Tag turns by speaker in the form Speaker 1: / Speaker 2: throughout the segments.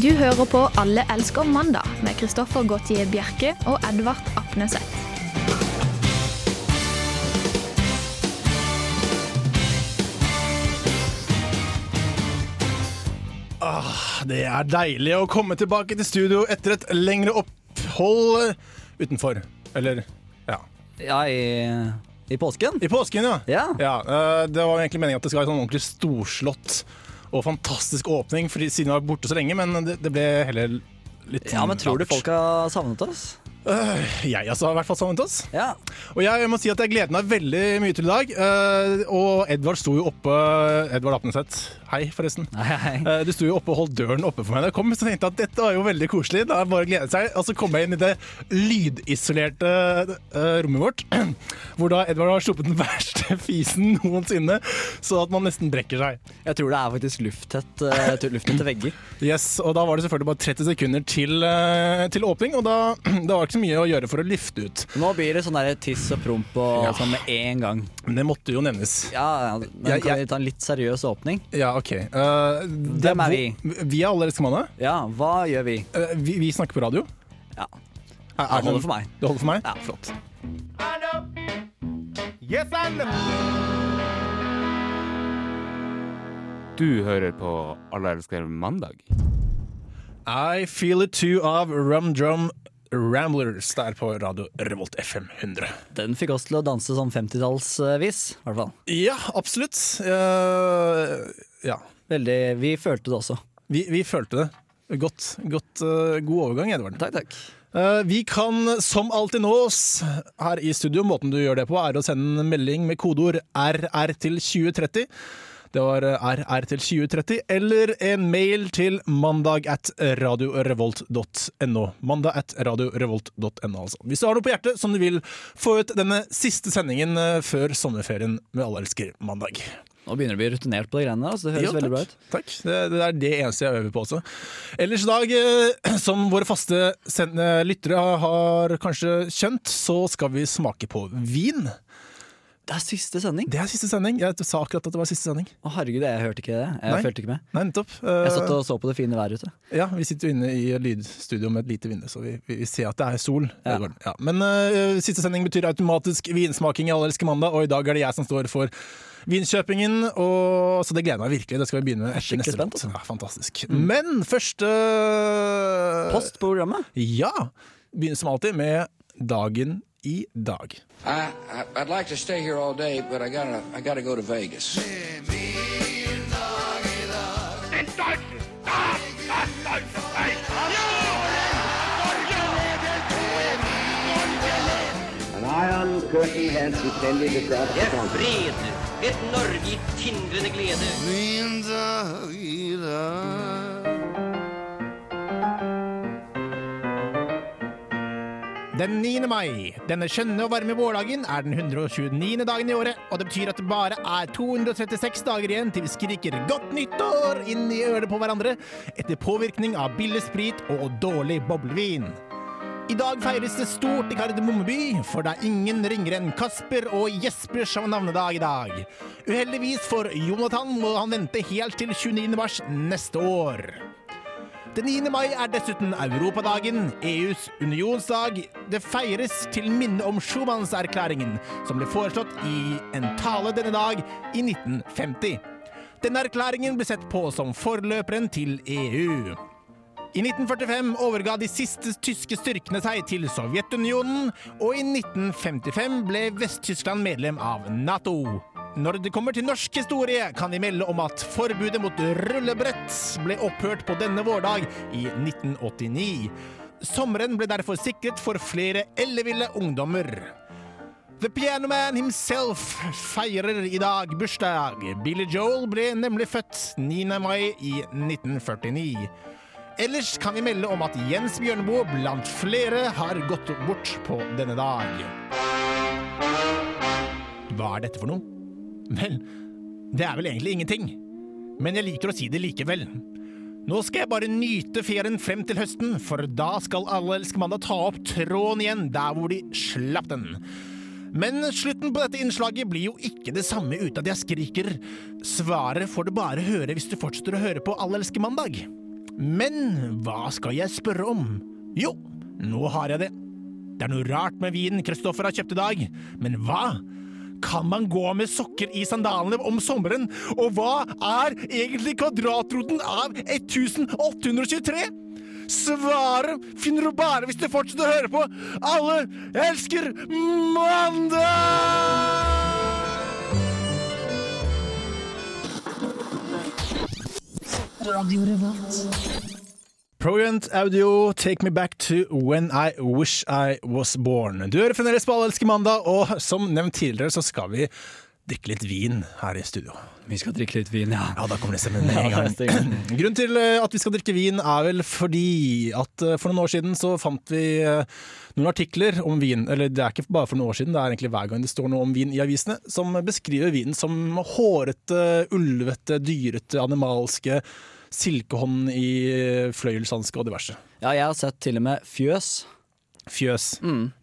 Speaker 1: Du hører på Alle elsker mandag med Kristoffer Gautier Bjerke og Edvard Apneseth.
Speaker 2: Det er deilig å komme tilbake til studio etter et lengre opphold utenfor. Eller ja.
Speaker 3: Ja, i, i påsken?
Speaker 2: I påsken, ja.
Speaker 3: Ja.
Speaker 2: eh, det var egentlig meningen at det skal være en sånn ordentlig storslått og fantastisk åpning, fordi siden vi var borte så lenge, men det, det ble heller litt
Speaker 3: Ja, men tror du
Speaker 2: labert.
Speaker 3: folk har savnet oss?
Speaker 2: Jeg altså har i hvert fall savnet oss.
Speaker 3: Ja.
Speaker 2: Og jeg må si at jeg gleder meg veldig mye til i dag. eh, og Edvard sto jo oppe Edvard Apneseth, hei, forresten.
Speaker 3: Nei, hei.
Speaker 2: Eh, Du sto jo oppe og holdt døren oppe for meg da jeg kom, så tenkte jeg at dette var jo veldig koselig. Da er det bare å glede seg. Og så kom jeg inn i det lydisolerte eh, rommet vårt, hvor da Edvard har sluppet den verste fisen noensinne, så at man nesten brekker seg.
Speaker 3: Jeg tror det er faktisk lufttett eh, tu- lufttette vegger.
Speaker 2: Yes, Og da var det selvfølgelig bare 30 sekunder til, eh, til åpning, og da det var ikke så mye å gjøre for å lifte ut.
Speaker 3: Nå blir det sånn der tiss og promp og
Speaker 2: Ja.
Speaker 3: sånn med en gang.
Speaker 2: Men det måtte jo nevnes.
Speaker 3: Ja, ja, men
Speaker 2: Jeg-
Speaker 3: kan
Speaker 2: jeg-
Speaker 3: vi ta en litt seriøs åpning?
Speaker 2: Ja, OK. Eh, det
Speaker 3: Hvem er vi?
Speaker 2: hvor- Vi er alle Reskemane.
Speaker 3: Ja, hva gjør vi?
Speaker 2: Uh, vi, vi snakker på radio.
Speaker 3: Ja,
Speaker 2: Er- er
Speaker 3: Det holder for meg.
Speaker 2: Det holder for meg?
Speaker 3: ja flott.
Speaker 4: I know. Yes, I know.
Speaker 5: Du hører på Alle elsker mandag.
Speaker 2: I Feel It Too av Rum Drum Ramblers der på Radio Revolt FM 100.
Speaker 3: Den fikk oss til å danse sånn 50-tallsvis, i hvert fall.
Speaker 2: Ja, absolutt. Eh, ja.
Speaker 3: Veldig, vi følte det også.
Speaker 2: Vi, vi følte det. Godt, godt, eh, god overgang, Edvard.
Speaker 3: Takk, takk.
Speaker 2: Eh, vi kan som alltid nå oss her i studio. Måten du gjør det på, er å sende en melding med kodeord RR til 2030. Det var eh, RR til 2030. Eller en mail til mandag at radiorevolt.no. Mandag at radiorevolt.no, altså. Hvis du har noe på hjertet som du vil få ut denne siste sendingen eh, før sommerferien med Alle elsker mandag.
Speaker 3: Nå begynner du å bli rutinert på de greiene der, så det høres
Speaker 2: Jo,
Speaker 3: veldig bra ut.
Speaker 2: Takk. Det, det er det eneste jeg øver på også. Ellers i dag, eh, som våre faste send- eh, lyttere har, har kanskje skjønt, så skal vi smake på vin.
Speaker 3: Det er siste sending.
Speaker 2: Det er siste sending. Jeg sa akkurat at det var siste sending.
Speaker 3: Å herregud, jeg hørte ikke det. Jeg
Speaker 2: Nei.
Speaker 3: følte ikke med.
Speaker 2: Nei, nettopp.
Speaker 3: Jeg satt
Speaker 2: Eh,
Speaker 3: og så på det fine været ute.
Speaker 2: ja, vi sitter jo inne i lydstudio med et lite vindu, så vi, vi, vi ser at det er sol.
Speaker 3: Ja.
Speaker 2: Edvard. Ja. Men eh, siste sending betyr automatisk vinsmaking i Alle elsker mandag, og i dag er det jeg som står for vinkjøpingen. Og, så det gleder meg virkelig. Det skal vi begynne med etter
Speaker 3: skikkelig
Speaker 2: neste
Speaker 3: spent, altså. Mm.
Speaker 2: låt. Ja, fantastisk. Men første
Speaker 3: Post på programmet.
Speaker 2: Ja. Begynner som alltid med dagen i dag.
Speaker 6: I, I I'd like to stay here all day, but I gotta I gotta go to Vegas.
Speaker 7: An iron curtain has descended across the country.
Speaker 8: fred, et Norge i tindrende glede.
Speaker 2: Den 9. mai. Denne skjønne og varme vårdagen er den 129. dagen i året, og det betyr at det bare er 236 dager igjen til vi skriker 'godt nyttår' inn i øret på hverandre etter påvirkning av billig sprit og dårlig boblevin. I dag feires det stort i Kardemomme by, for det er ingen ringere enn Kasper og Jesper som har navnedag i dag. Uheldigvis for Jonathan må han vente helt til 29. mars neste år. Den 9. mai er dessuten Europadagen, EUs unionsdag. Det feires til minne om Schumannserklæringen, som ble foreslått i en tale denne dag i 1950. Denne erklæringen ble sett på som forløperen til E EU. I 1945 overga de siste tyske styrkene seg til Sovjetunionen, og i 1955 ble Vest-Tyskland medlem av Nato. Når det kommer til norsk historie, kan vi melde om at forbudet mot rullebrett ble opphørt på denne vårdag i 1989. Sommeren ble derfor sikret for flere elleville ungdommer. The Piano Man himself feirer i dag bursdag. Billy Joel ble nemlig født 9. mai i 1949. Ellers kan vi melde om at Jens Bjørneboe blant flere har gått bort på denne dag. Hva er dette for noe? Vel, det er vel egentlig ingenting. Men jeg liker å si det likevel. Nå skal jeg bare nyte ferien frem til høsten, for da skal Alle elsker mandag ta opp tråden igjen der hvor de slapp den. Men slutten på dette innslaget blir jo ikke det samme uten at jeg skriker. Svaret får du bare høre hvis du fortsetter å høre på Alle elsker mandag. Men hva skal jeg spørre om? Jo, nå har jeg det. Det er noe rart med vinen Kristoffer har kjøpt i dag, men hva? Kan man gå med sokker i sandalene om sommeren? Og hva er egentlig kvadratroten av 1823? Svaret finner du bare hvis du fortsetter å høre på. Alle elsker mandag! Proient Audio, Take Me Back to When I Wish I Was Born. Du hører fremdeles på Allelske mandag, og som nevnt tidligere så skal vi drikke litt vin her i studio.
Speaker 3: Vi skal drikke litt vin, ja.
Speaker 2: Ja, da kommer det stemmen med en
Speaker 3: Ja, neste
Speaker 2: gang.
Speaker 3: gang.
Speaker 2: Grunnen til eh, at vi skal drikke vin er vel fordi at eh, for noen år siden så fant vi eh, noen artikler om vin, eller det er ikke bare for noen år siden, det er egentlig hver gang det står noe om vin i avisene, som beskriver vinen som hårete, ulvete, dyrete, animalske, silkehånd i eh, fløyelshanske og diverse.
Speaker 3: Ja, jeg har sett til og med fjøs.
Speaker 2: Fjøs.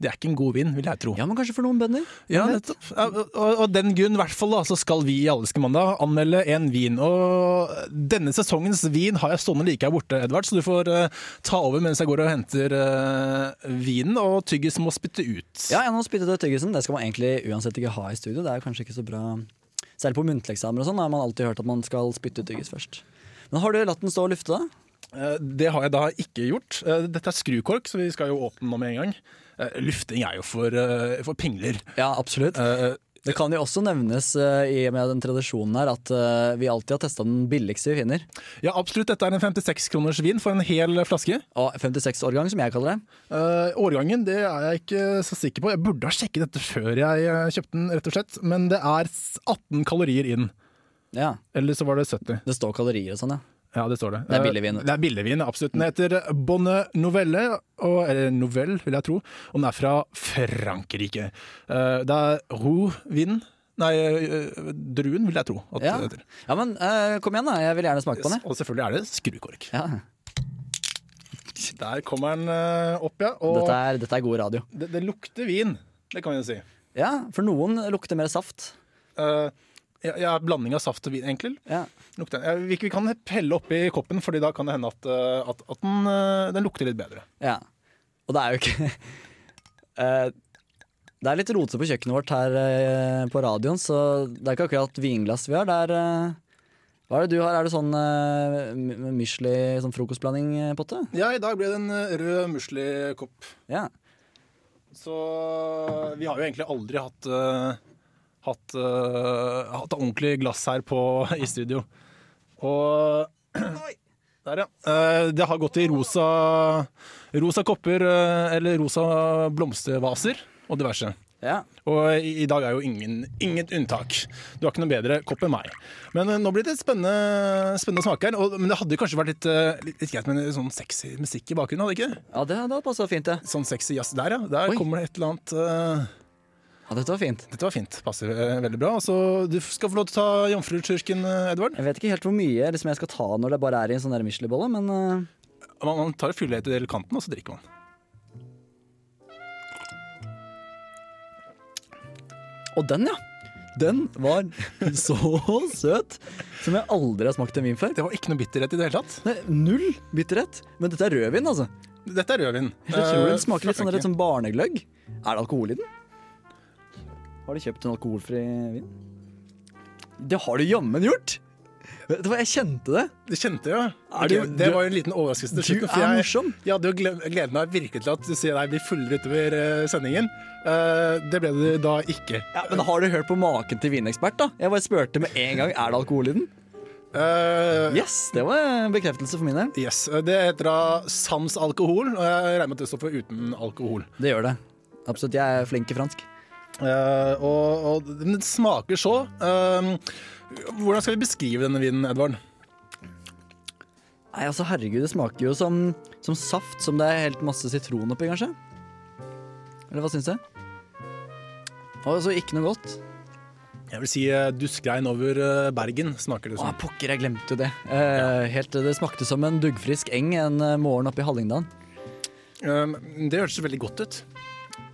Speaker 2: Det er ikke en god vin, vil jeg tro.
Speaker 3: Mm. Ja, men kanskje for noen bønder?
Speaker 2: Ja, nettopp. Ja, Og, og den grunn, i hvert fall, da, så skal vi i Alleske mandag anmelde en vin. Og denne sesongens vin har jeg stående like her borte, Edvard, så du får eh, ta over mens jeg går og henter eh, vinen, og tyggis må spytte ut.
Speaker 3: Ja, gjennom spyttede tyggisen. Det skal man egentlig uansett ikke ha i studio. Det er jo kanskje ikke så bra Særlig på muntleksamener og sånn har man alltid hørt at man skal spytte ut tyggis først. Men har du latt den stå og lufte, da?
Speaker 2: Eh, Det har jeg da ikke gjort. Eh, Dette er skrukork, så vi skal jo åpne den nå med en gang. Eh, Lufting er jo for, eh, for pingler.
Speaker 3: Ja, absolutt.
Speaker 2: Eh,
Speaker 3: Det kan jo også nevnes eh, i og med den tradisjonen her at eh, vi alltid har testa den billigste vi finner.
Speaker 2: Ja, absolutt. Dette er en 56 kroners vin for en hel flaske.
Speaker 3: Og 56-årgang, som jeg kaller det.
Speaker 2: Eh, årgangen det er jeg ikke så sikker på. Jeg burde ha sjekket dette før jeg eh, kjøpte den, rett og slett. Men det er s- 18 kalorier inn.
Speaker 3: Ja,
Speaker 2: Eller så var det 70.
Speaker 3: Det står kalorier og sånn, ja.
Speaker 2: Ja, det står det.
Speaker 3: Det er billigvin.
Speaker 2: Eh, Det er billigvin, absolutt. Den heter Bonne Novelle, og, eller Novelle, vil jeg tro. Og den er fra Frankrike. Eh, det er roux-vin. Nei, eh, druen, vil jeg tro. At
Speaker 3: Ja,
Speaker 2: det heter.
Speaker 3: ja men eh, kom igjen, da. Jeg vil gjerne smake på den. jeg.
Speaker 2: Og selvfølgelig er det skrukork.
Speaker 3: Ja.
Speaker 2: Der kommer den eh, opp, ja. Og
Speaker 3: Dette, er, dette er god radio.
Speaker 2: det, det lukter vin, det kan vi jo si.
Speaker 3: Ja, For noen lukter mer saft.
Speaker 2: Eh, ja, ja, blanding av saft og vin, egentlig.
Speaker 3: Ja.
Speaker 2: Lukter, ja, vi, vi kan pelle oppi koppen, Fordi da kan det hende at, eh, at, at den, eh, den lukter litt bedre.
Speaker 3: ja. Og det er jo ikke Eh, Det er litt rotete på kjøkkenet vårt her eh, på radioen, så det er ikke akkurat vinglass vi har. Det er eh, Hva er det du har? Er det sånn eh, mi- Misli sånn frokostblanding-potte?
Speaker 2: Ja, i dag ble det en eh, rød muslikopp.
Speaker 3: Ja.
Speaker 2: Så eh, vi har jo egentlig aldri hatt eh, Hatt, eh, hatt ordentlig glass her på, i studio. Og Der, ja. Eh, det har gått i rosa, rosa kopper eh, eller rosa blomstervaser og diverse.
Speaker 3: ja.
Speaker 2: Og i i dag er jo ingen, inget unntak. Du har ikke noe bedre kopp enn meg. Men eh, nå blir det et spennende, spennende å smake her. Og, men det hadde kanskje vært litt, eh, litt, litt greit med en sånn sexy musikk i bakgrunnen, hadde det ikke?
Speaker 3: Ja, det, det passa fint, det.
Speaker 2: Sånn sexy jazz der, ja. Der
Speaker 3: Oi.
Speaker 2: kommer det et eller annet eh,
Speaker 3: Ja, dette var fint.
Speaker 2: Dette var fint. Passer eh, veldig bra. Så du skal få lov til å ta jomfruturken, eh, Edvard.
Speaker 3: Jeg vet ikke helt hvor mye liksom, jeg skal ta når det bare er i en sånn der Michelin-bolle, men eh,
Speaker 2: Man, man tar et fyllet til kanten, og så drikker man.
Speaker 3: Og den, ja! Den var så søt som jeg aldri har smakt en vin før.
Speaker 2: Det var ikke noe bitterhet i det hele tatt.
Speaker 3: Nei, null bitterhet. Men dette er rødvin, altså.
Speaker 2: Dette er rødvin.
Speaker 3: Jeg tror
Speaker 2: Eh,
Speaker 3: den smaker litt sånn,
Speaker 2: Frankrike.
Speaker 3: litt sånn barnegløgg. Er det alkohol i den? Har du kjøpt en alkoholfri vin? Det har du jammen gjort! Vet du hva, jeg kjente det.
Speaker 2: Det kjente jeg.
Speaker 3: Er
Speaker 2: Ok,
Speaker 3: du-
Speaker 2: det
Speaker 3: du-
Speaker 2: var jo en liten overraskelse til
Speaker 3: Du
Speaker 2: slutt. for
Speaker 3: er
Speaker 2: jeg-
Speaker 3: morsom.
Speaker 2: Jeg hadde jo gled- gledet meg virkelig til at du sier deg blir fullere utover eh, sendingen. Eh, det ble du da ikke.
Speaker 3: Ja, men har du hørt på maken til vinekspert, da? Jeg bare spurte med en gang er det alkohol i den.
Speaker 2: Eh,
Speaker 3: Yes, det var en bekreftelse for min del.
Speaker 2: Yes, eh, Det heter da Sams alkohol, og jeg regner med at det står for uten alkohol.
Speaker 3: Det gjør det. Absolutt. Jeg er flink i fransk.
Speaker 2: Eh, og, og den smaker så. eh, hvordan skal vi beskrive denne vinen, Edvard?
Speaker 3: Nei, altså herregud, det smaker jo som, som saft som det er helt masse sitron oppi, kanskje. Eller hva syns du? Altså, ikke noe godt.
Speaker 2: Jeg vil si eh, duskregn over eh, Bergen, snakker det
Speaker 3: Å,
Speaker 2: som.
Speaker 3: pokker, jeg glemte jo det. Eh, helt, det smakte som en duggfrisk eng en eh, morgen oppe i Hallingdal.
Speaker 2: Eh, det hørtes veldig godt ut.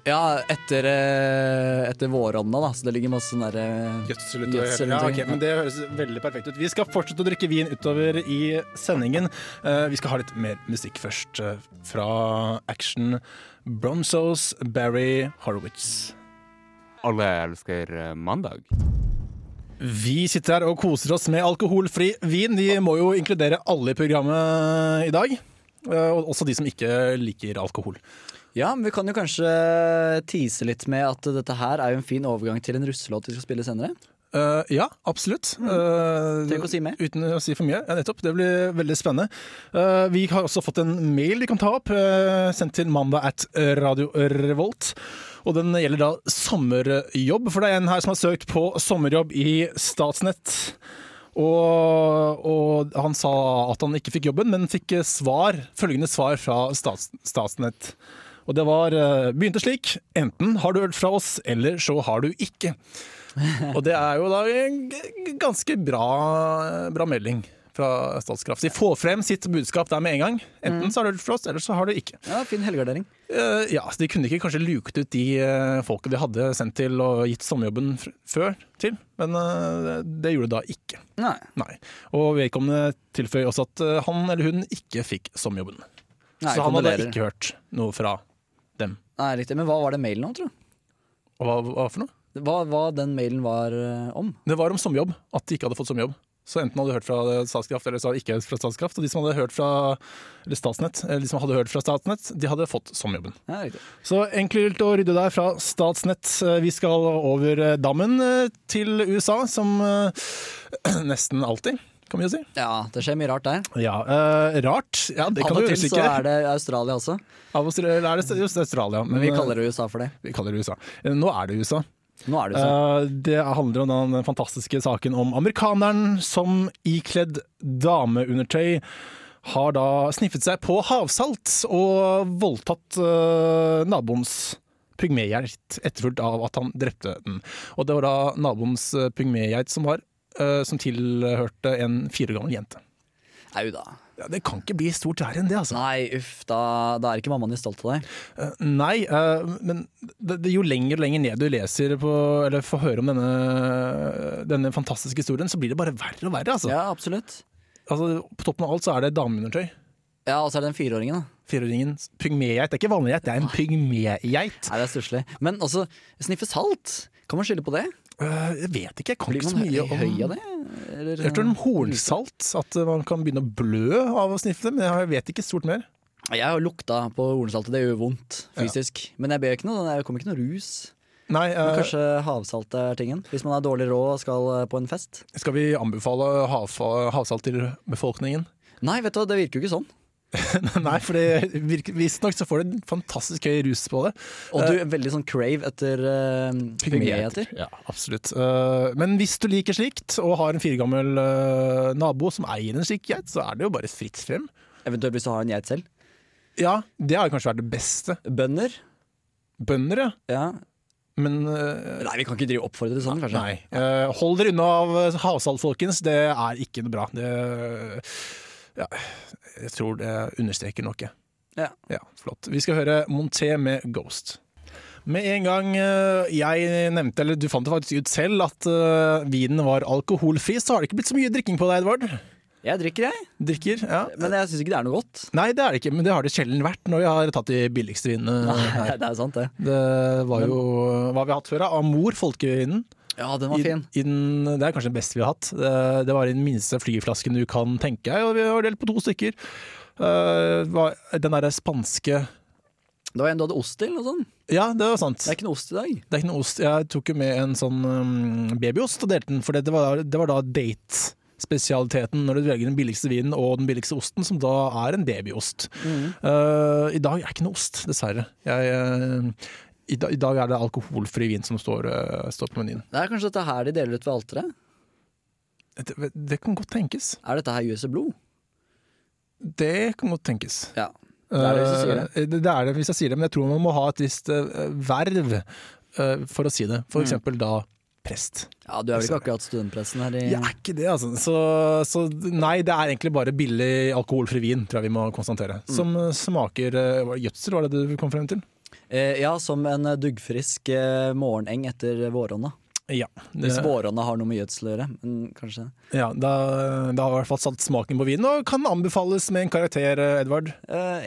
Speaker 3: Ja, etter, eh, etter våronna, da, så det ligger masse sånn derre
Speaker 2: Gjødsel utover.
Speaker 3: Gjødsel
Speaker 2: Ja,
Speaker 3: utover,
Speaker 2: ok,
Speaker 3: ja.
Speaker 2: men Det høres veldig perfekt ut. Vi skal fortsette å drikke vin utover i sendingen. Eh, vi skal ha litt mer musikk først. eh, fra Action Bronzos Barry Horowitz.
Speaker 5: Alle elsker eh, mandag.
Speaker 2: Vi sitter her og koser oss med alkoholfri vin. De må jo inkludere alle i programmet i dag. eh, og også de som ikke liker alkohol.
Speaker 3: Ja, men vi kan jo kanskje eh, tease litt med at dette her er jo en fin overgang til en russelåt vi skal spille senere.
Speaker 2: Eh, ja, absolutt. Eh,
Speaker 3: Mm. Trenger ikke å si mer.
Speaker 2: Uten å si for mye. Ja, nettopp. Det blir veldig spennende. Eh, vi har også fått en mail vi kan ta opp, eh, sendt til mandag at Radio Revolt. Og den gjelder da sommerjobb, for det er en her som har søkt på sommerjobb i Statsnett. Og, og han sa at han ikke fikk jobben, men fikk eh, svar, følgende svar fra stats, Statsnett. Og det var eh, begynte slik. Enten har du hørt fra oss, eller så har du ikke. Og det er jo da en g- ganske bra, bra melding fra Statskraft. De får frem sitt budskap der med en gang. Enten så har du hørt fra oss, eller så har du ikke.
Speaker 3: Ja, Fin helgardering.
Speaker 2: Eh, ja, så De kunne ikke kanskje luket ut de eh, folka de hadde sendt til og gitt sommerjobben fr før til, men eh, det gjorde de da ikke.
Speaker 3: Nei.
Speaker 2: Nei. Og vedkommende tilføyer også at eh, han eller hun ikke fikk sommerjobben.
Speaker 3: Nei,
Speaker 2: så han hadde
Speaker 3: kondolerer.
Speaker 2: ikke hørt noe fra dem.
Speaker 3: Nei, riktig. Men hva var den mailen om, tro?
Speaker 2: Og hva, hva for noe?
Speaker 3: Hva, hva den mailen var eh, om?
Speaker 2: Det var om sommerjobb, at de ikke hadde fått sommerjobb. Så enten hadde du hørt fra Statskraft, eller så hadde du ikke hørt fra Statskraft. Og de som hadde hørt fra eller Statsnett, eller de som hadde hørt fra Statsnett, de hadde fått sommerjobben.
Speaker 3: Ja, riktig.
Speaker 2: Så enkelt å rydde der fra Statsnett. Vi skal over eh, dammen til USA, som eh, nesten alltid, kan vi jo si.
Speaker 3: Ja, det skjer mye rart der.
Speaker 2: Ja, eh, rart. Ja, det kan
Speaker 3: Av
Speaker 2: du
Speaker 3: og til så
Speaker 2: sikkert.
Speaker 3: er det Australia også,
Speaker 2: Av og til er det just Australia.
Speaker 3: men vi kaller det USA for det.
Speaker 2: vi kaller det USA. Nå er det USA.
Speaker 3: Nå er det sånn. USA.
Speaker 2: Eh, Det handler om den den fantastiske saken om amerikaneren som ikledd dameundertøy har da sniffet seg på havsalt og voldtatt eh, naboens pygmegeit, etterfulgt av at han drepte den. Og det var da naboens eh, pygmegeit som var, eh, som tilhørte en fire år gammel jente. Eh.
Speaker 3: Au da.
Speaker 2: Ja, det kan ikke bli stort verre enn det, altså.
Speaker 3: Nei, uff, da, da er ikke mammaen din stolt av deg.
Speaker 2: Eh, Nei, eh, men det, det, jo lenger og lenger ned du leser på, eller får høre om denne, denne fantastiske historien, så blir det bare verre og verre. Altså.
Speaker 3: Ja, absolutt.
Speaker 2: Altså, på toppen av alt så er det dameundertøy.
Speaker 3: Ja, og så er det den fireåringen, da.
Speaker 2: Fireåringen pygmegeit. Det er ikke vanlig geit, det er en pygmegeit.
Speaker 3: Nei, det er stusslig. Men altså, sniffe salt? Kan man skylde på det?
Speaker 2: Eh, jeg vet ikke, jeg kan
Speaker 3: Blir
Speaker 2: ikke så
Speaker 3: man høy,
Speaker 2: mye om
Speaker 3: høy av det? Eller,
Speaker 2: Jeg hørte om hornsalt, at man kan begynne å blø av å sniffe det, men jeg vet ikke stort mer.
Speaker 3: Jeg har lukta på hornsaltet, det gjør jo vondt fysisk. Men jeg ber ikke noe, jeg kommer ikke noe rus.
Speaker 2: Nei, eh,
Speaker 3: Men kanskje havsalt er tingen? Hvis man har dårlig råd og skal eh, på en fest?
Speaker 2: skal vi anbefale hav, havsalt til befolkningen?
Speaker 3: Nei, vet du hva, det virker jo ikke sånn.
Speaker 2: Nei, for det virker- visstnok så får du en fantastisk høy rus på det.
Speaker 3: Og du er veldig sånn crave etter uh, pygmeeter.
Speaker 2: Ja, absolutt. Eh, Men hvis du liker slikt, og har en firegammel eh, nabo som eier en slik geit, så er det jo bare fritt frem.
Speaker 3: Eventuelt hvis du har en geit selv.
Speaker 2: Ja, det har kanskje vært det beste.
Speaker 3: Bønder.
Speaker 2: Bønder, ja.
Speaker 3: Ja.
Speaker 2: Men eh,
Speaker 3: Nei, vi kan ikke drive og oppfordre til sånn, kanskje.
Speaker 2: nei. Eh, hold dere unna av eh, havsalt, folkens. Det er ikke noe bra. Det ja, jeg tror det understreker noe.
Speaker 3: Ja.
Speaker 2: Ja, flott. Vi skal høre Monté med Ghost. Med en gang eh, jeg nevnte, eller du fant det faktisk ut selv, at eh, vinen var alkoholfri, så har det ikke blitt så mye drikking på deg, Edvard.
Speaker 3: Jeg drikker, jeg.
Speaker 2: Drikker, ja.
Speaker 3: Men jeg syns ikke det er noe godt.
Speaker 2: Nei, det er det ikke, men det har det sjelden vært når vi har tatt de billigste vinene.
Speaker 3: Nei, det er sant, det.
Speaker 2: Det var jo Hva har vi hatt før? da? Amor, folkevinen.
Speaker 3: Ja,
Speaker 2: I,
Speaker 3: den var fin.
Speaker 2: i den, det er kanskje den beste vi har hatt. Eh, Det, det var i den minste flyflasken du kan tenke deg, og vi har delt på to stykker. Eh, hva- den derre spanske
Speaker 3: Det var en du hadde ost til og sånn.
Speaker 2: Ja, det var sant.
Speaker 3: Det er ikke noe ost i dag.
Speaker 2: Det er ikke noe ost. Jeg tok jo med en sånn um, babyost og delte den, for det, det, var, det var da date. Spesialiteten når du velger den billigste vinen og den billigste osten, som da er en babyost.
Speaker 3: Mm.
Speaker 2: Eh, I dag er det ikke noe ost, dessverre. Jeg, eh, i, da, I dag er det alkoholfri vin som står, eh, står på menyen.
Speaker 3: Det er kanskje dette her de deler ut ved alteret?
Speaker 2: Det, det kan godt tenkes.
Speaker 3: Er dette her Juice og blod?
Speaker 2: Det kan godt tenkes.
Speaker 3: Ja. Det er det hvis du sier det.
Speaker 2: Eh, det er det hvis jeg sier det, men jeg tror man må ha et visst eh, verv eh, for å si det.
Speaker 3: Mm.
Speaker 2: For eksempel da prest.
Speaker 3: Ja, du er vel ikke akkurat studentpressen her i
Speaker 2: Jeg er ikke det, altså. Så, så nei, det er egentlig bare
Speaker 3: Mm.
Speaker 2: billig alkoholfri vin, tror jeg vi må konstatere. Som eh, smaker eh, var det Gjødsel, var det det du kom frem til?
Speaker 3: Eh, ja, som en eh, duggfrisk eh, morgeneng etter våronna.
Speaker 2: Ja,
Speaker 3: Hvis
Speaker 2: det-
Speaker 3: våronna har noe med gjødsel å gjøre. Men kanskje
Speaker 2: ja da, da har vi i hvert fall satt smaken på vinen, og kan anbefales med en karakter, eh, Edvard.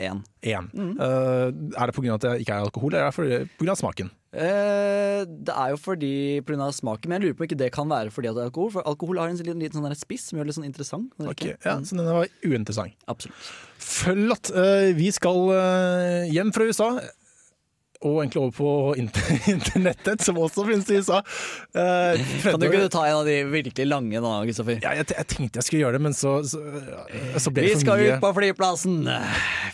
Speaker 3: én.
Speaker 2: Én.
Speaker 3: Mm.
Speaker 2: Eh, er det pga. at det ikke er alkohol, eller er det pga. smaken?
Speaker 3: Eh, det er jo fordi pga. smaken, men jeg lurer på om ikke det kan være fordi at det er alkohol. For alkohol har en liten, liten sånn der spiss som gjør det litt sånn interessant. å drikke.
Speaker 2: Ok, ja, Så denne var uinteressant.
Speaker 3: Absolutt.
Speaker 2: Flott. Eh, Vi skal eh, hjem fra USA. Og egentlig over på inter- internettet, som også finnes i USA. Eh,
Speaker 3: Kan du ikke ta en av de virkelig lange da, Kristoffer?
Speaker 2: Ja, jeg, te- jeg tenkte jeg skulle gjøre det, men så, så, eh, så ble
Speaker 3: Vi
Speaker 2: det for
Speaker 3: skal
Speaker 2: mye.
Speaker 3: ut på flyplassen,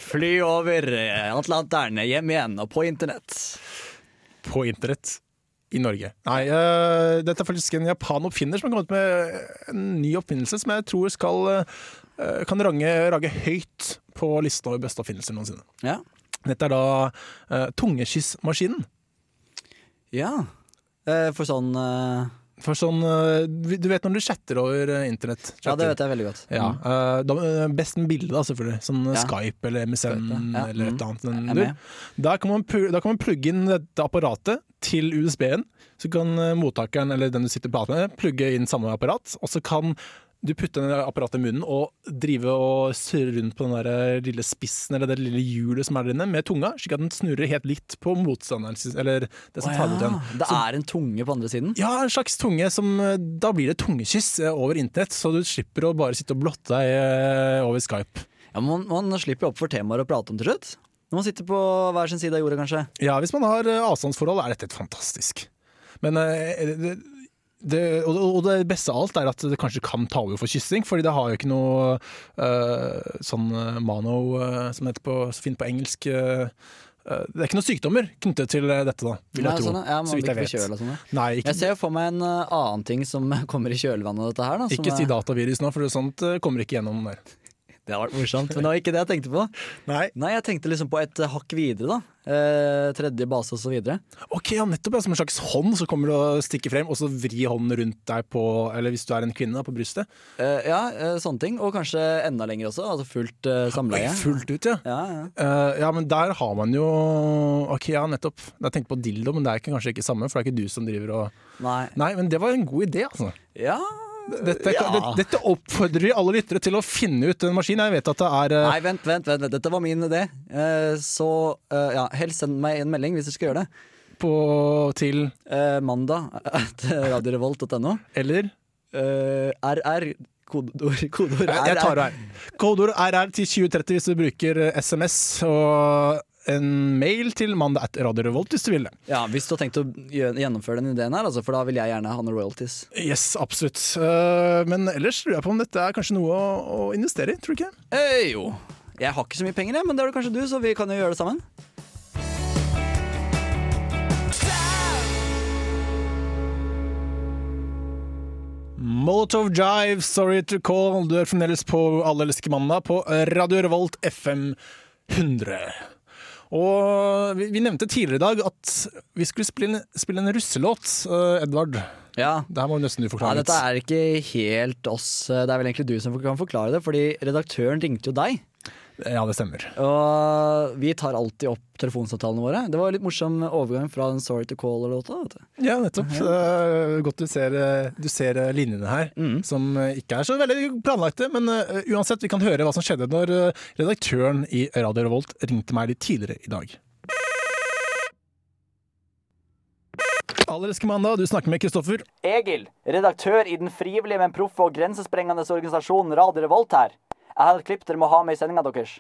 Speaker 3: fly over Atlanteren, hjem igjen og på internett.
Speaker 2: på internett i Norge. Nei, eh, dette er faktisk en japan-oppfinner som har kommet med en ny oppfinnelse som jeg tror skal eh, kan range, rage høyt på lista over beste oppfinnelser noensinne.
Speaker 3: Ja.
Speaker 2: Dette er da eh, tungeskyssmaskinen.
Speaker 3: ja. Eh, For sånn eh,
Speaker 2: For sånn, eh, Du vet når du chatter over eh, internett?
Speaker 3: Ja, det vet jeg veldig godt.
Speaker 2: Ja, eh, da, eh, Best med bilde, da, selvfølgelig. Sånn eh,
Speaker 3: Ja.
Speaker 2: Skype eller MSN
Speaker 3: Skype, ja.
Speaker 2: eller
Speaker 3: Mm.
Speaker 2: et annet. enn
Speaker 3: Jeg er
Speaker 2: du.
Speaker 3: med.
Speaker 2: Da kan, man, pu- da kan man plugge inn dette apparatet til USB-en. Så kan eh, mottakeren eller den du sitter og prater med, plugge inn samme apparat. Og så kan du putte det apparatet i munnen og drive og surre rundt på den der eh, lille spissen eller det lille hjulet som er der inne, med tunga, slik at den snurrer helt likt på motstanderen sin- eller det som
Speaker 3: Å
Speaker 2: tar imot den.
Speaker 3: ja. Det er en tunge på andre siden.
Speaker 2: Ja, en slags tunge som eh, Da blir det tungekyss eh, over internett, så du slipper å bare sitte og blotte deg eh, over Skype.
Speaker 3: Ja, men man, man slipper jo opp for temaer å prate om til slutt. Når man sitter på hver sin side av jorda, kanskje.
Speaker 2: Ja, hvis man har eh, avstandsforhold, er dette et fantastisk. Men eh, det, det, og, og det beste av alt er at det kanskje kan ta over for kyssing, fordi det har jo ikke noe eh, sånn eh, mano, eh, som det heter på, så fint på engelsk eh, eh, Det er ikke noen sykdommer knyttet til eh, dette, da, vil
Speaker 3: Nei,
Speaker 2: jeg tro.
Speaker 3: sånn, ja, man
Speaker 2: så
Speaker 3: blir
Speaker 2: vidt jeg
Speaker 3: ikke
Speaker 2: vet.
Speaker 3: forkjølet og sånn, ja.
Speaker 2: Nei, ikke,
Speaker 3: Jeg ser jo for meg en eh, annen ting som kommer i kjølvannet av dette her. Da, som,
Speaker 2: ikke si
Speaker 3: eh,
Speaker 2: datavirus nå, for sånt eh, kommer ikke gjennom der.
Speaker 3: Det har vært morsomt, men det var ikke det jeg tenkte på.
Speaker 2: Nei.
Speaker 3: Nei, jeg tenkte liksom på et eh, hakk videre, da. Eh, tredje base og så videre.
Speaker 2: Ok, ja, nettopp. Ja. Som en slags hånd, så kommer du og stikker frem, og så vri hånden rundt deg på Eller hvis du er en kvinne, da, på brystet.
Speaker 3: Eh, ja, eh, sånne ting. Og kanskje enda lenger også. Altså fullt eh, samleie.
Speaker 2: Oi, Fullt ut, ja.
Speaker 3: Ja, ja.
Speaker 2: Eh, ja, men der har man jo Ok, ja, nettopp. Jeg tenkte på dildo, men det er ikke, kanskje ikke samme, for det er ikke du som driver og
Speaker 3: Nei.
Speaker 2: Nei, men det var en god idé, altså.
Speaker 3: Ja.
Speaker 2: Dette,
Speaker 3: Ja.
Speaker 2: det, dette oppfordrer vi alle lyttere til å finne ut en maskin. Jeg vet at det er eh,
Speaker 3: Nei, vent, vent, vent. vent. Dette var min idé. Eh, så eh, ja, helst send meg en melding hvis dere skal gjøre det.
Speaker 2: på til
Speaker 3: Eh, mandag at radiorevolt.no.
Speaker 2: Eller?
Speaker 3: Eh, RR. Kodeord, kodeord
Speaker 2: Jeg, jeg tar det her. Kodeord RR til 2030 hvis du bruker eh, SMS og en mail til mandag at Radio Revolt hvis du vil det.
Speaker 3: Ja, Hvis du har tenkt å gjø- gjennomføre den ideen her, altså, for da vil jeg gjerne ha noen royalties.
Speaker 2: Yes, absolutt. Eh, Men ellers lurer jeg på om dette er kanskje noe å, å investere i, tror du ikke?
Speaker 3: Eh, jo. Jeg har ikke så mye penger, jeg, men det har du kanskje du, så vi kan jo gjøre det sammen.
Speaker 2: Molotov Jive, Sorry to Call. Du er fremdeles på Alle elsker mandag på Radio Revolt FM 100. Og vi, vi nevnte tidligere i dag at vi skulle spille, spille en russelåt, eh, Edvard.
Speaker 3: Ja,
Speaker 2: Det her må nesten du
Speaker 3: Nei,
Speaker 2: forklare litt.
Speaker 3: dette er ikke helt oss. Det er vel egentlig du som kan forklare det, fordi redaktøren ringte jo deg.
Speaker 2: Ja, det stemmer.
Speaker 3: Og vi tar alltid opp telefonsamtalene våre. Det var en litt morsom overgang fra den Sorry to Call-låta. vet du.
Speaker 2: Ja, nettopp. Eh, godt du ser, eh, du ser eh, linjene her, som eh, ikke er så veldig planlagte. Men eh, uansett, vi kan høre hva som skjedde når eh, redaktøren i Radio Revolt ringte meg litt tidligere i dag. Allerske mandag, du snakker med Kristoffer.
Speaker 3: Egil, redaktør i den frivillige, men proffe og grensesprengende organisasjonen Radio Revolt her. Jeg har et klipp dere må ha med i sendinga deres.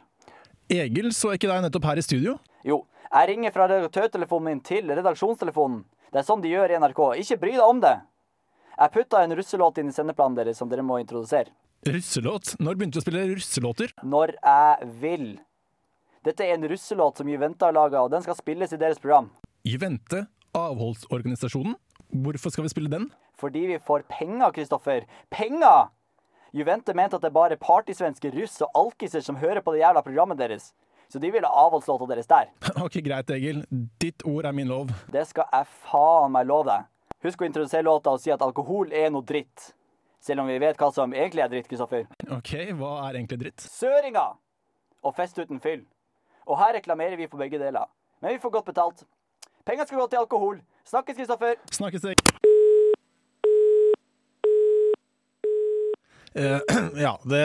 Speaker 2: Egil så ikke deg nettopp her i studio.
Speaker 3: Jo, jeg ringer fra redaktørtelefonen min til redaksjonstelefonen. Det er sånn de gjør i NRK. Ikke bry deg om det. Jeg putta en russelåt inn i sendeplanen deres som dere må introdusere.
Speaker 2: Russelåt? Når begynte du å spille russelåter?
Speaker 3: Når jeg vil. Dette er en russelåt som Juventa har laga, og den skal spilles i deres program.
Speaker 2: I vente, avholdsorganisasjonen. Hvorfor skal vi spille den?
Speaker 3: Fordi vi får penger, Kristoffer. Penger! Juvente mente at det er bare partysvenske russ og alkiser som hører på det jævla programmet deres. Så de ville ha avholdslåta deres der.
Speaker 2: Ok, greit, Egil. Ditt ord er min lov.
Speaker 3: Det skal jeg faen meg love deg. Husk å introdusere låta og si at alkohol er noe dritt. Selv om vi vet hva som egentlig er dritt, Kristoffer.
Speaker 2: Ok, hva er egentlig dritt?
Speaker 3: Søringa! Og fest uten fyll. Og her reklamerer vi for begge deler. Men vi får godt betalt. Penga skal gå til alkohol. Snakkes, Kristoffer.
Speaker 2: Snakkes det Eh, ja, det,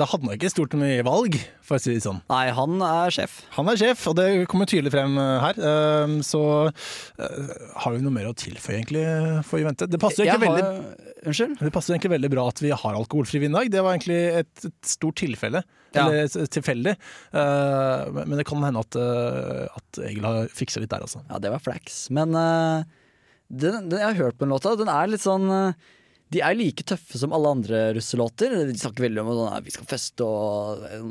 Speaker 2: det hadde nok ikke stort mye valg, for å si det sånn.
Speaker 3: Nei, han er sjef.
Speaker 2: Han er sjef, og det kommer tydelig frem eh, her. Eh, Så eh, har vi noe mer å tilføye, egentlig, for Juvente? Det passer, jo
Speaker 3: Jeg
Speaker 2: egentlig
Speaker 3: har-
Speaker 2: veldig,
Speaker 3: Unnskyld?
Speaker 2: det passer egentlig veldig bra at vi har alkoholfri vindag. Det var egentlig et, et stort tilfelle.
Speaker 3: Ja.
Speaker 2: Eller et- et tilfeldig. Eh, Men men det kan hende at, eh, at Egil har fiksa litt der, altså.
Speaker 3: Ja, det var flax. Men eh, den, den, jeg har hørt på den låta. Den er litt sånn eh, De er like tøffe som alle andre russelåter. De snakker veldig om sånn, eh, vi skal feste og eh,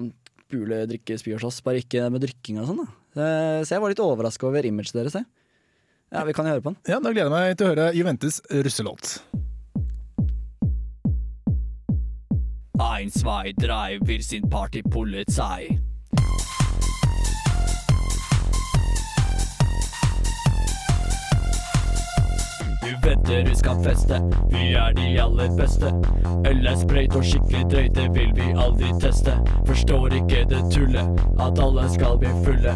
Speaker 3: pule, drikke, spy og slåss. Bare ikke med drikking og sånn. da. Eh, så jeg var litt overraska over imaget deres. Jeg. Ja, Vi kan jo høre på den.
Speaker 2: Ja, Da gleder jeg meg til å høre Juventes russelåt.
Speaker 3: Ein, zwei, drei, wir sind Partypolizei. Du vet du skal feste, vi er de aller beste. Øl er sprøyt og skikkelig drøyt, det vil vi aldri teste. Forstår ikke det tullet, at alle skal bli fulle.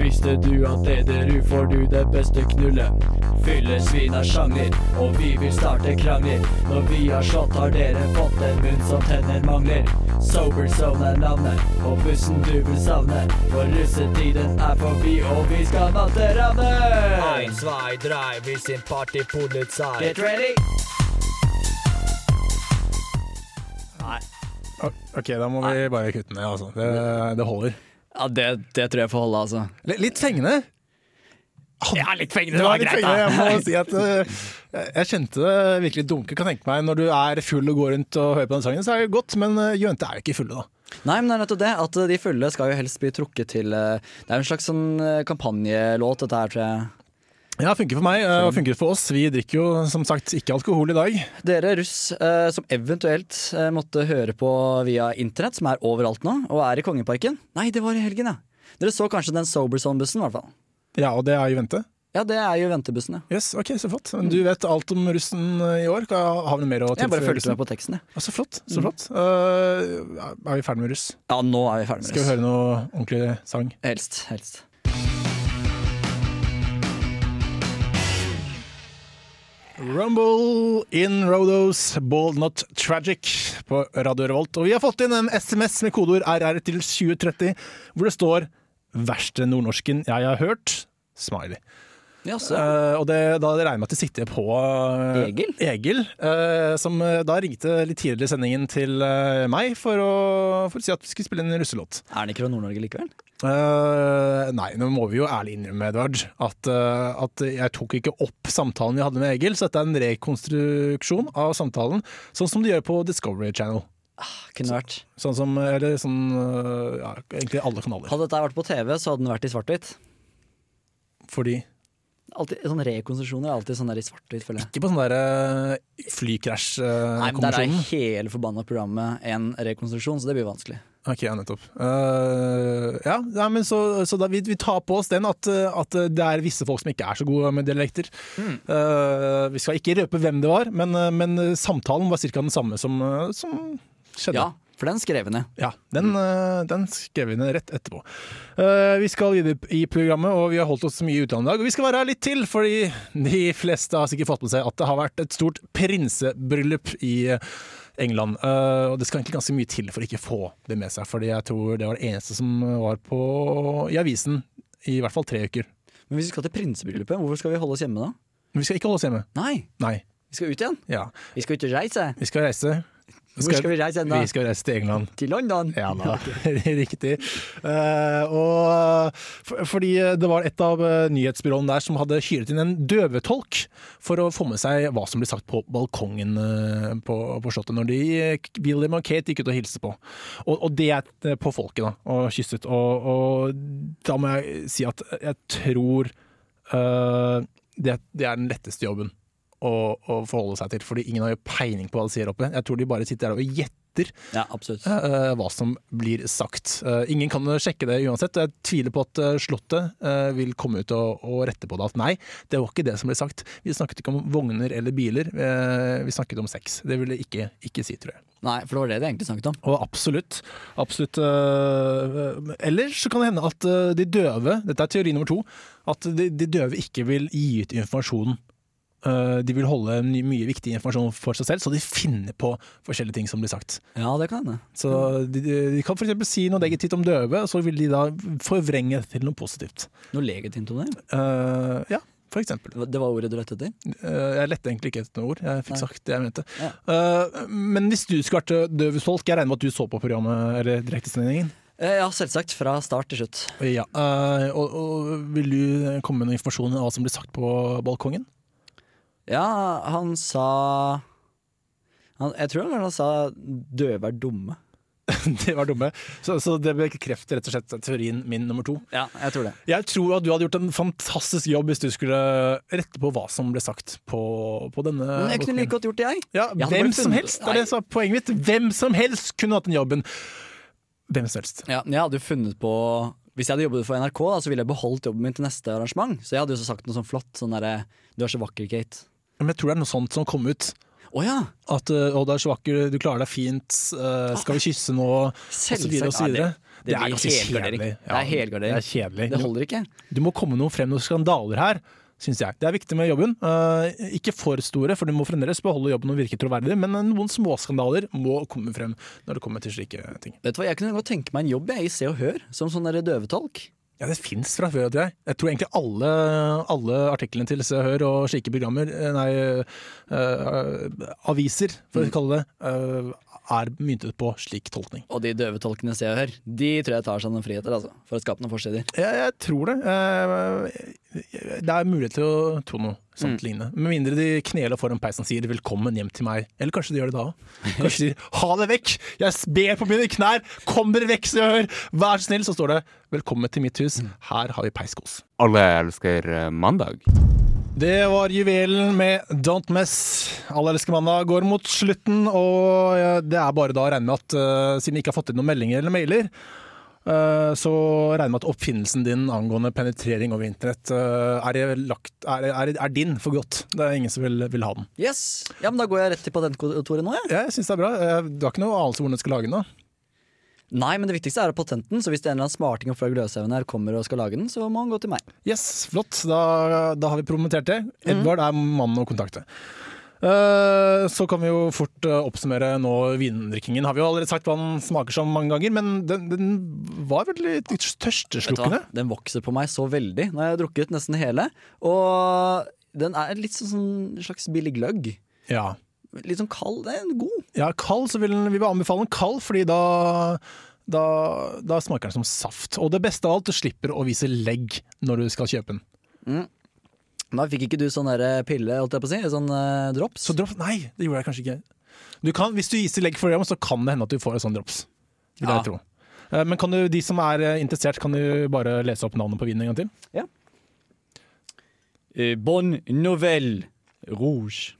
Speaker 3: Visste du at Ederud får du det beste knullet? Fyllesvin er sjanger, og vi vil starte krangler. Når vi har slått har dere fått en munn som tenner mangler. Sober Zone er navnet, og bussen du vil savne. For russetiden er forbi, og vi skal natte ravne. Ein, zwei, drei, vi sin partypolizei. Get ready!
Speaker 2: Ok, da må vi bare kutte ned, altså. Det, det holder.
Speaker 3: Ja, det, det tror jeg får holde, altså.
Speaker 2: L litt fengende.
Speaker 3: Ja, litt fengende,
Speaker 2: Det var litt fengende, jeg må si at eh, Jeg kjente det virkelig dunke. Kan tenke meg, Når du er full og går rundt og hører på den sangen, så er det godt, men eh, jønte er jo ikke fulle, da.
Speaker 3: Nei, men det er nettopp det. At eh, de fulle skal jo helst bli trukket til eh, Det er jo en slags sånn eh, kampanjelåt, dette her, tror jeg.
Speaker 2: Ja, det funker for meg eh, og funker for oss. Vi drikker jo som sagt ikke alkohol i dag.
Speaker 3: Dere russ eh, som eventuelt eh, måtte høre på via internett, som er overalt nå, og er i Kongeparken Nei, det var i helgen, ja. Dere så kanskje den Soberzone-bussen, i hvert fall.
Speaker 2: Ja, og det er Juvente.
Speaker 3: Ja, det er jo ventebussen, ja.
Speaker 2: Yes, ok, så flott. Men Du vet alt om russen eh, i år. Hva- Har vi noe mer å
Speaker 3: Jeg bare
Speaker 2: tilføye?
Speaker 3: fulgte
Speaker 2: russen?
Speaker 3: med på teksten, jeg.
Speaker 2: Ja, så flott. så flott. Eh, er vi ferdig med russ?
Speaker 3: Ja, nå er vi ferdig med
Speaker 2: Skal vi høre noe ordentlig sang?
Speaker 3: Helst. Helst.
Speaker 2: Rumble in Rodos, Bald Not Tragic på Radio Revolt. Og vi har fått inn en SMS med kodeord RR til 2030, hvor det står 'Verste nordnorsken jeg har hørt'. Smiley.
Speaker 3: Jaså.
Speaker 2: Eh, og det, da regner jeg med at det sitter på eh,
Speaker 3: Egil?
Speaker 2: Egil, eh, som eh, da ringte litt tidligere i sendingen til eh, meg for å, for å si at vi skulle spille en russelåt.
Speaker 3: Er den ikke fra Nord-Norge likevel?
Speaker 2: Eh, nei, nå må vi jo ærlig innrømme, Edvard, at, eh, at jeg tok ikke opp samtalen vi hadde med Egil, så dette er en rekonstruksjon av samtalen, sånn som de gjør på Discovery Channel.
Speaker 3: Ah, Kunne vært.
Speaker 2: Sånn som, eller sånn, eh, ja, egentlig alle kanaler.
Speaker 3: Hadde dette vært på TV, så hadde den vært i svart-hvitt.
Speaker 2: Fordi,
Speaker 3: Alltid- Sånne rekonstruksjoner er alltid sånn der i svart-hvitt, føler jeg.
Speaker 2: ikke på sånn der eh,
Speaker 3: Nei, men der er
Speaker 2: flykrasj-konvensjonen.
Speaker 3: hele forbanna programmet en rekonstruksjon, så det blir vanskelig.
Speaker 2: Ok, ja, nettopp. Eh, ja, nei, men så, så da, vi, vi tar på oss den at, eh, at det er visse folk som ikke er så gode med dialekter. Eh, vi skal ikke røpe hvem det var, men, eh, men samtalen var ca. den samme som, eh, som skjedde.
Speaker 3: Ja, for den skrev jeg ned.
Speaker 2: Ja, den,
Speaker 3: Mm.
Speaker 2: eh, den skrev vi ned rett etterpå. Eh, vi skal videre i programmet, og vi har holdt oss mye i utlandet i dag. Og vi skal være her litt til, fordi de fleste har sikkert fått med seg at det har vært et stort prinsebryllup i eh, England. Eh, og det skal egentlig ganske mye til for å ikke få det med seg, fordi jeg tror det var det eneste som var på, i avisen i hvert fall tre uker.
Speaker 3: Men hvis vi skal til prinsebryllupet, hvorfor skal vi holde oss hjemme da?
Speaker 2: Men vi skal ikke holde oss hjemme.
Speaker 3: Nei,
Speaker 2: Nei.
Speaker 3: vi skal ut igjen.
Speaker 2: Ja.
Speaker 3: Vi skal ut og reise.
Speaker 2: Vi skal reise.
Speaker 3: Hvor skal vi reise hen da?
Speaker 2: Vi skal reise til England.
Speaker 3: Til London.
Speaker 2: Ja da, riktig. Eh, og for, fordi det var et av eh, nyhetsbyråene der som hadde hyret inn en døvetolk for å få med seg hva som ble sagt på balkongen eh, på, på Slottet når de, William og Kate gikk ut og hilste på. Og, og det er eh, på folket, da, og kysset. Og, og da må jeg si at jeg tror eh, det, det er den letteste jobben å, å forholde seg til, fordi ingen har jo peiling på hva de sier oppe. Jeg tror de bare sitter der og gjetter etter
Speaker 3: Ja, absolutt.
Speaker 2: eh, hva som blir sagt. Eh, ingen kan sjekke det uansett. Jeg tviler på at eh, Slottet eh, vil komme ut og, og rette på det. At nei, det var ikke det som ble sagt. Vi snakket ikke om vogner eller biler. Eh, vi snakket om sex. Det ville jeg ikke, ikke si, tror jeg.
Speaker 3: Nei, for det var det de egentlig snakket om.
Speaker 2: Og absolutt. absolutt øh, Eller så kan det hende at øh, de døve, dette er teori nummer to, at de, de døve ikke vil gi ut informasjonen. Øh, De vil holde my- mye viktig informasjon for seg selv, så de finner på forskjellige ting som blir sagt.
Speaker 3: Ja, det kan hende.
Speaker 2: Så De, de kan f.eks. si noe negativt om døve, og så vil de da forvrenge det til noe positivt.
Speaker 3: Noe legitimt om det?
Speaker 2: Eh, ja, for eksempel.
Speaker 3: Det var ordet du lette etter?
Speaker 2: Eh, Jeg lette egentlig ikke etter noe ord. Jeg
Speaker 3: Nei.
Speaker 2: fikk sagt det jeg mente. Eh, Men hvis du skulle vært øh, døv tolk, jeg regner med at du så på programmet eller direktesendingen?
Speaker 3: Eh, Ja, selvsagt. Fra start til slutt.
Speaker 2: Ja, eh, og, og Vil du komme med noe informasjon om hva som blir sagt på balkongen?
Speaker 3: Ja, han sa han, Jeg tror han sa døve er dumme.
Speaker 2: det var dumme. Så, så det bekrefter rett og slett teorien min nummer to.
Speaker 3: Ja, jeg tror det.
Speaker 2: Jeg tror at du hadde gjort en fantastisk jobb hvis du skulle rette på hva som ble sagt på, på denne
Speaker 3: Men jeg kunne
Speaker 2: balkongen.
Speaker 3: like godt gjort det, jeg.
Speaker 2: Eh, Ja,
Speaker 3: Jeg hadde
Speaker 2: hvem
Speaker 3: bare
Speaker 2: som
Speaker 3: funnet-
Speaker 2: helst, det er det som er poenget mitt. Hvem som helst kunne hatt den jobben. Hvem som helst.
Speaker 3: Ja, men jeg hadde jo funnet på Hvis jeg hadde jobbet for NRK, da, så ville jeg beholdt jobben min til neste arrangement. Så jeg hadde jo så sagt noe sånn flott. Sånn derre Du er så vakker, Kate.
Speaker 2: Men jeg tror det er noe sånt som kom ut.
Speaker 3: Å ja!
Speaker 2: At eh, 'Å, du er så vakker, du klarer deg fint', eh, 'Skal vi kysse nå', osv.
Speaker 3: Selvsagt er det- det
Speaker 2: Det
Speaker 3: blir
Speaker 2: er ganske
Speaker 3: helgardering.
Speaker 2: kjedelig.
Speaker 3: Det er helgardering.
Speaker 2: Det er kjedelig.
Speaker 3: Det holder ikke.
Speaker 2: Du må komme noe frem noen skandaler her, syns jeg. Det er viktig med jobben. Eh, ikke for store, for du må fremdeles beholde jobben og virke troverdig, men noen småskandaler må komme frem når det kommer til slike ting.
Speaker 3: Vet du hva, Jeg kunne godt tenke meg en jobb jeg, i Se og Hør, som sånn derre døvetolk.
Speaker 2: Ja, det fins fra før, tror jeg. Jeg tror egentlig alle, alle artiklene til Se og Hør og slike programmer, eh, nei, eh, aviser, for å kalle det, eh, er myntet på slik tolkning.
Speaker 3: Og de døvetolkene i Se og Hør, de tror jeg tar seg noen friheter, altså. For å skape noen forsider.
Speaker 2: Jeg, jeg tror det. Eh, Det er mulighet til å tro noe sånt lignende. Med mindre de kneler foran peisen og sier 'velkommen hjem til meg'. Eller kanskje de gjør det da òg. Kanskje de sier 'ha det vekk', jeg ber på mine knær, kom dere vekk, så jeg hører, vær så snill. Så står det 'velkommen til mitt hus, her har vi peiskos'.
Speaker 5: Alle elsker eh, mandag.
Speaker 2: Det var juvelen med Don't Mess. Alle elsker mandag går mot slutten, og eh, det er bare da å regne med at eh, siden vi ikke har fått inn noen meldinger eller mailer, eh, så regner jeg med at oppfinnelsen din angående penetrering over internett eh, er, lagt, er, er, er din for godt. Det er ingen som vil, vil ha den.
Speaker 3: Yes! Ja, men da går jeg rett til patentkontoret nå, jeg.
Speaker 2: Ja, jeg syns det er bra. Eh, Du har ikke noe anelse om hvordan du skal lage den? da?
Speaker 3: Nei, men det viktigste er patenten, så hvis det er en eller annen smarting fra Gløshaugen her kommer og skal lage den, så må han gå til meg.
Speaker 2: Yes, flott. Da, da har vi promotert det.
Speaker 3: Mhm.
Speaker 2: Edvard er mannen å kontakte. Eh, Så kan vi jo fort eh, oppsummere nå vindrikkingen. Har vi jo allerede sagt hva den smaker som mange ganger, men den, den var veldig
Speaker 3: Vet du hva?
Speaker 2: tørsteslukkende.
Speaker 3: Den vokser på meg så veldig. Nå har jeg drukket nesten hele. Og den er litt sånn sånn slags billig gløgg.
Speaker 2: Ja.
Speaker 3: Litt sånn kald. Det er god.
Speaker 2: ja, kald, så vil den, vi vil anbefale den kald, fordi da, da, da smaker den som saft. Og det beste av alt, du slipper å vise legg når du skal kjøpe den.
Speaker 3: Da fikk ikke du sånn der pille, holdt jeg på å si. Sånn eh, drops.
Speaker 2: Så drops? Nei, det gjorde jeg kanskje ikke. Du kan, hvis du viser legg for det, så kan det hende at du får en sånn drops. Vil
Speaker 3: Ja.
Speaker 2: jeg tro. Eh, Men kan du, de som er eh, interessert, kan du bare lese opp navnet på vinen en gang til?
Speaker 3: Eh, Bonne Nouvelle Rouge.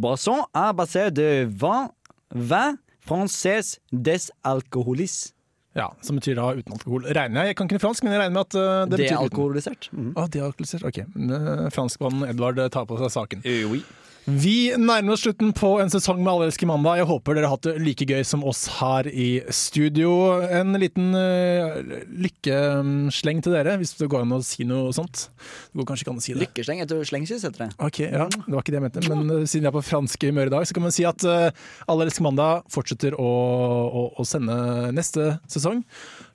Speaker 3: Brasson er basert de vin, vin français des alcoholis.
Speaker 2: Ja, Som betyr da uten alkohol. Regner Jeg jeg kan ikke fransk, men jeg regner med at eh, det betyr uten.
Speaker 3: Dealkoholisert. Mm.
Speaker 2: Ah, dealkoholisert. Ok. Eh, Franskmannen Edvard eh, tar på seg saken.
Speaker 3: Eh, oui.
Speaker 2: Vi nærmer oss slutten på en sesong med Alle elsker mandag. Jeg håper dere har hatt det like gøy som oss her i studio. En liten eh, lykkesleng til dere, hvis det går an å si noe sånt. Det går kanskje ikke an å si det.
Speaker 3: Lykkesleng. Jeg tror slengskyss heter det.
Speaker 2: Ok, ja, Det var ikke det jeg mente, men eh, siden jeg er på fransk humør i dag, så kan man si at eh, Alle elsker mandag fortsetter å, å, å sende neste sesong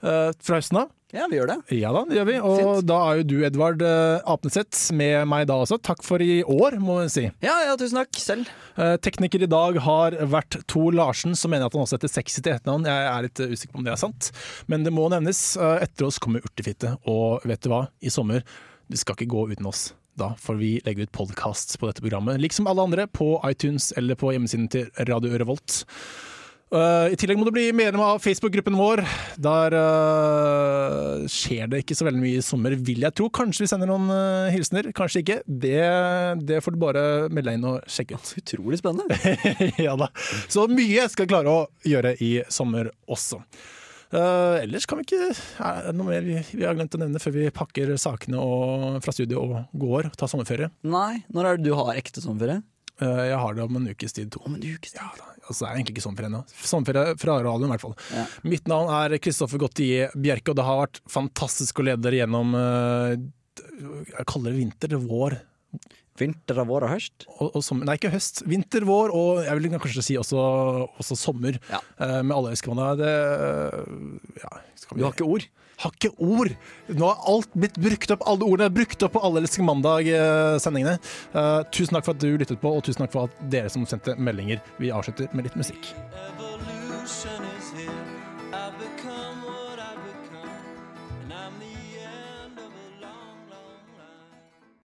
Speaker 2: eh, fra høsten av.
Speaker 3: Ja, vi gjør det.
Speaker 2: Ja da, det gjør vi. Og
Speaker 3: Fint.
Speaker 2: da er jo du, Edvard eh, Apneseth, med meg da også. Takk for i år, må jeg si.
Speaker 3: Ja, ja, tusen takk. Selv.
Speaker 2: Eh, tekniker i dag har vært Tor Larsen, som mener jeg at han også heter Sexy til etternavn. Jeg er litt eh, usikker på om det er sant, men det må nevnes. Eh, etter oss kommer Urtefitte, og vet du hva? I sommer, du skal ikke gå uten oss. Da får vi legge ut podkast på dette programmet, liksom alle andre, på iTunes eller på hjemmesiden til Radio Revolt. Eh, Eh, I tillegg må du bli medlem av Facebook-gruppen vår. Der eh, skjer det ikke så veldig mye i sommer, vil jeg tro. Kanskje vi sender noen eh, hilsener, kanskje ikke. Det, det får du bare melde deg inn og sjekke ut.
Speaker 3: Utrolig spennende.
Speaker 2: ja da. Så mye skal jeg klare å gjøre i sommer også. Eh, ellers kan vi ikke Er det noe mer vi vi har glemt å nevne før vi pakker sakene og, fra studio og går og tar sommerferie?
Speaker 3: Nei, når er det du har ekte sommerferie?
Speaker 2: Eh, jeg har det om en ukes tid. To. Om en ukes tid. Ja, da. Altså, det er egentlig ikke sommerferie ennå. Sommerferie fra radioen, i hvert fall. Mitt navn er Kristoffer Gottier Bjerke, og det har vært fantastisk å lede dere gjennom eh, Jeg kaller det vinter, vår
Speaker 3: Vinter av vår og høst?
Speaker 2: og, og sommer. Nei, ikke høst. Vinter, vår og jeg vil kanskje si også, også sommer.
Speaker 3: Ja.
Speaker 2: Eh, med alle ønskemålene. Det eh, ja, skal vi-
Speaker 3: Du har ikke ord?
Speaker 2: har ikke ord! Nå har alt blitt brukt opp, alle ordene er brukt opp på alle Elsker mandag-sendingene. Eh, tusen takk for at du lyttet på, og tusen takk for at dere som sendte meldinger. Vi avslutter med litt musikk.
Speaker 9: Evolution is here. I've become